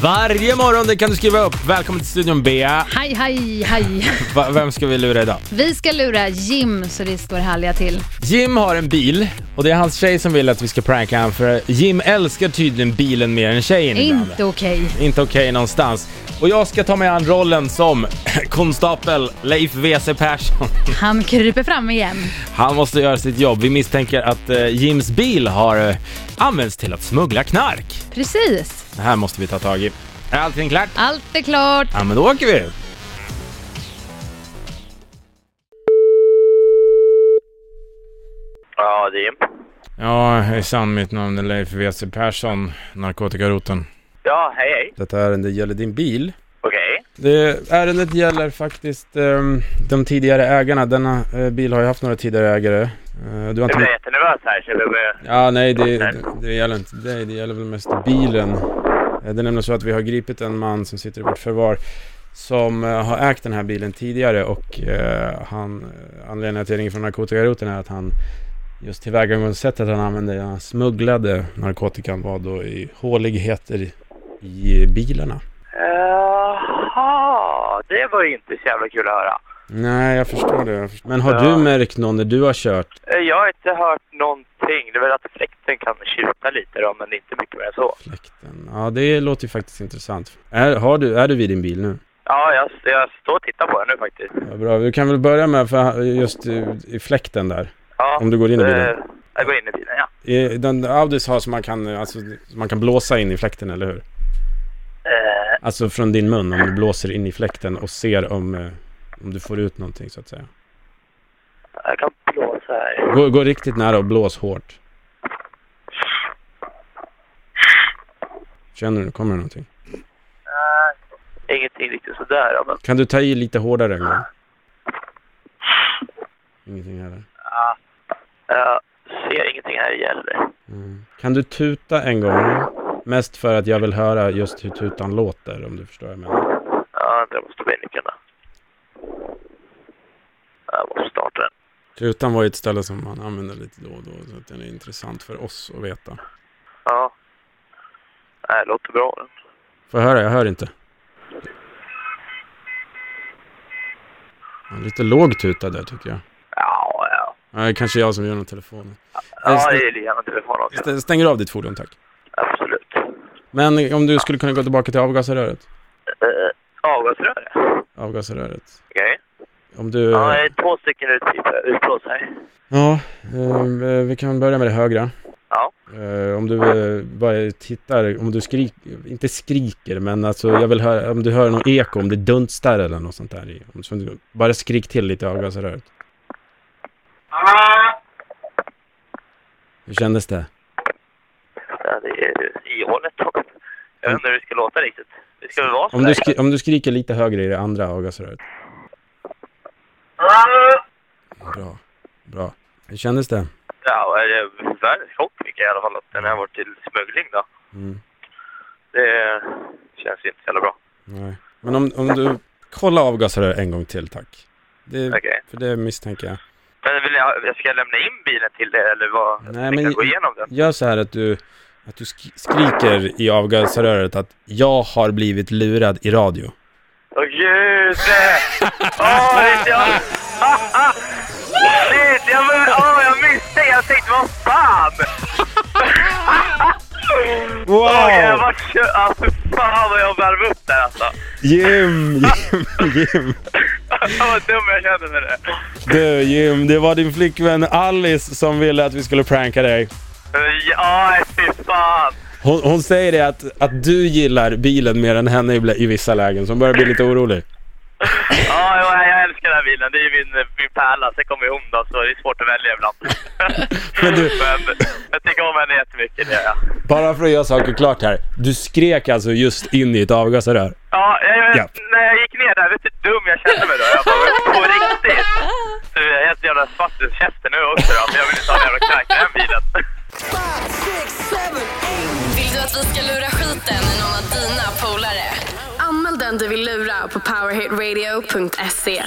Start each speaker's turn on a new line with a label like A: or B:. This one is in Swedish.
A: Varje morgon, det kan du skriva upp. Välkommen till studion Bea.
B: Hej, hej, hej.
A: Va- vem ska vi lura idag?
B: Vi ska lura Jim så det står härliga till.
A: Jim har en bil och det är hans tjej som vill att vi ska pranka honom för Jim älskar tydligen bilen mer än tjejen ibland.
B: Inte okej.
A: Inte okej någonstans. Och jag ska ta mig an rollen som konstapel Leif WC Persson.
B: Han kryper fram igen.
A: Han måste göra sitt jobb. Vi misstänker att eh, Jims bil har eh, använts till att smuggla knark.
B: Precis.
A: Det här måste vi ta tag i. Är allting klart?
B: Allt är klart.
A: Ja, men då åker vi!
C: Ja, det är Jim.
A: Ja, hejsan, mitt namn är Leif WC Persson, narkotikaroten.
C: Ja, hej hej.
A: Detta ärende gäller din bil.
C: Okej.
A: Det, ärendet gäller faktiskt ehm, de tidigare ägarna. Denna eh, bil har ju haft några tidigare ägare. Eh, du har
C: Jag
A: inte...
C: blir jättenervös här så jag behöver...
A: Ja, nej, det, det, det gäller inte dig. Det gäller väl mest bilen. Eh, Det är nämligen så att vi har gripit en man som sitter i vårt förvar som eh, har ägt den här bilen tidigare och eh, han, eh, anledningen till att jag ringer från narkotikaroteln är att han just tillvägagångssättet han använde, han smugglade narkotikan var då i håligheter i, i bilarna.
C: Jaha, det var ju inte så jävla kul att höra.
A: Nej, jag förstår det. jag förstår- Men har
C: Ja.
A: du märkt någon när du har kört?
C: Eh, Jag har inte hört någonting. Det är väl att fläkten kan tjuta lite då, men inte mycket mer än så.
A: Fläkten? Ja, det låter ju faktiskt intressant. Är, har du, är du vid din bil nu?
C: Ja, jag, jag står och tittar på den nu faktiskt.
A: Ja, bra, vi kan väl börja med för just eh, i fläkten där.
C: Ja,
A: Om du går in i bilen.
C: eh, Jag går in i bilen, ja.
A: Eh, Den Audis har som man kan, eh, alltså, som man kan blåsa in i fläkten, eller hur?
C: Eh,
A: Alltså från din mun, om du blåser in i fläkten och ser om, eh, om du får ut någonting så att säga.
C: jag kan blåsa här.
A: Gå, gå riktigt nära och blås hårt. Känner du, kommer det någonting?
C: Eh, ingenting riktigt sådär ja, men...
A: Kan du ta i lite hårdare en gång? Ingenting heller.
C: Jag eh, ser ingenting här i heller.
A: Mm. Kan du tuta en gång? Mest för att jag vill höra just hur tutan låter, om du förstår vad jag menar.
C: Ja, jag måste be nycklarna. Jag måste starta den.
A: Tutan var ju ett ställe som man använde lite då och då, så att den är intressant för oss att veta.
C: Ja. Nej, det låter bra.
A: Får jag höra? Jag hör inte. Ja, lite låg tuta där tycker jag.
C: Ja, ja.
A: Ja, det är kanske jag som gör något telefonen.
C: Ja, det är gärna telefon också.
A: St- Stänger av ditt fordon tack.
C: Absolut.
A: Men om du skulle kunna gå tillbaka till avgasröret.
C: Uh, Avgasrör? Okej.
A: Avgasröret. Om du...
C: Ja, det är två stycken utblås- utblås här.
A: Ja, eh, vi kan börja med det högra.
C: Ja.
A: Eh, om du eh, bara tittar, om du skriker, inte skriker men alltså jag vill höra, om du hör någon eko, om det dunstar eller något sånt där. i- Om, så du, bara skrik till lite i avgasröret.
C: Ah.
A: Hur kändes det?
C: Ja, det är ihåligt. Jag vet inte hur det ska låta riktigt. Det ska väl vara så
A: Om du,
C: där.
A: skri, om du skriker lite högre i det andra avgasröret.
C: Ah.
A: Bra, bra. Hur kändes det?
C: Ja, det är värre chock fick jag i alla fall att den här var till smuggling då.
A: Mm.
C: Det känns inte så jävla bra.
A: Nej. Men om, om du, kolla avgasröret en gång till tack. Det,
C: Okej.
A: För det misstänker jag.
C: Men vill jag, ska jag lämna in bilen till det eller vad?
A: Nej,
C: Fick
A: men-
C: jag gå igenom den?
A: Gör så här att du, att du sk- skriker i avgasröret att jag har blivit lurad i radio.
C: Åh gud! Åh, det är jag... Shit, jag, var- åh, jag missade! Jag tänkte vad fan!
A: Wow!
C: Åh, jag var kö... ah, fy fan vad jag värvde upp där alltså!
A: Jim, Jim, Jim.
C: Fan vad dum jag kände med det.
A: Du Jim, det var din flickvän Alice som ville att vi skulle pranka dig.
C: Ja, fy fan!
A: Hon, hon säger det att, att du gillar bilen mer än henne i, bl- i vissa lägen, så hon börjar bli lite orolig.
C: Ja, jag, jag älskar den här bilen. Det är ju min, min pärla. Sen kommer ju hon då, så det är svårt att välja ibland.
A: Men du-
C: Men jag tycker om henne jättemycket, det gör jag.
A: Bara för att göra saker klart här. Du skrek alltså just in i ett avgasrör.
C: Ja, jag,
A: Ja.
C: när jag gick ner där, vet du hur dum jag kände mig då? Jag bara, men på riktigt! Så jag är helt jävla svart i käften nu också då, men jag vill inte ha en jävla knark i den bilen.
D: Vill du att vi ska lura skiten i någon av E. dina polare? Anmäl den du vill lura på powerhitradio.se.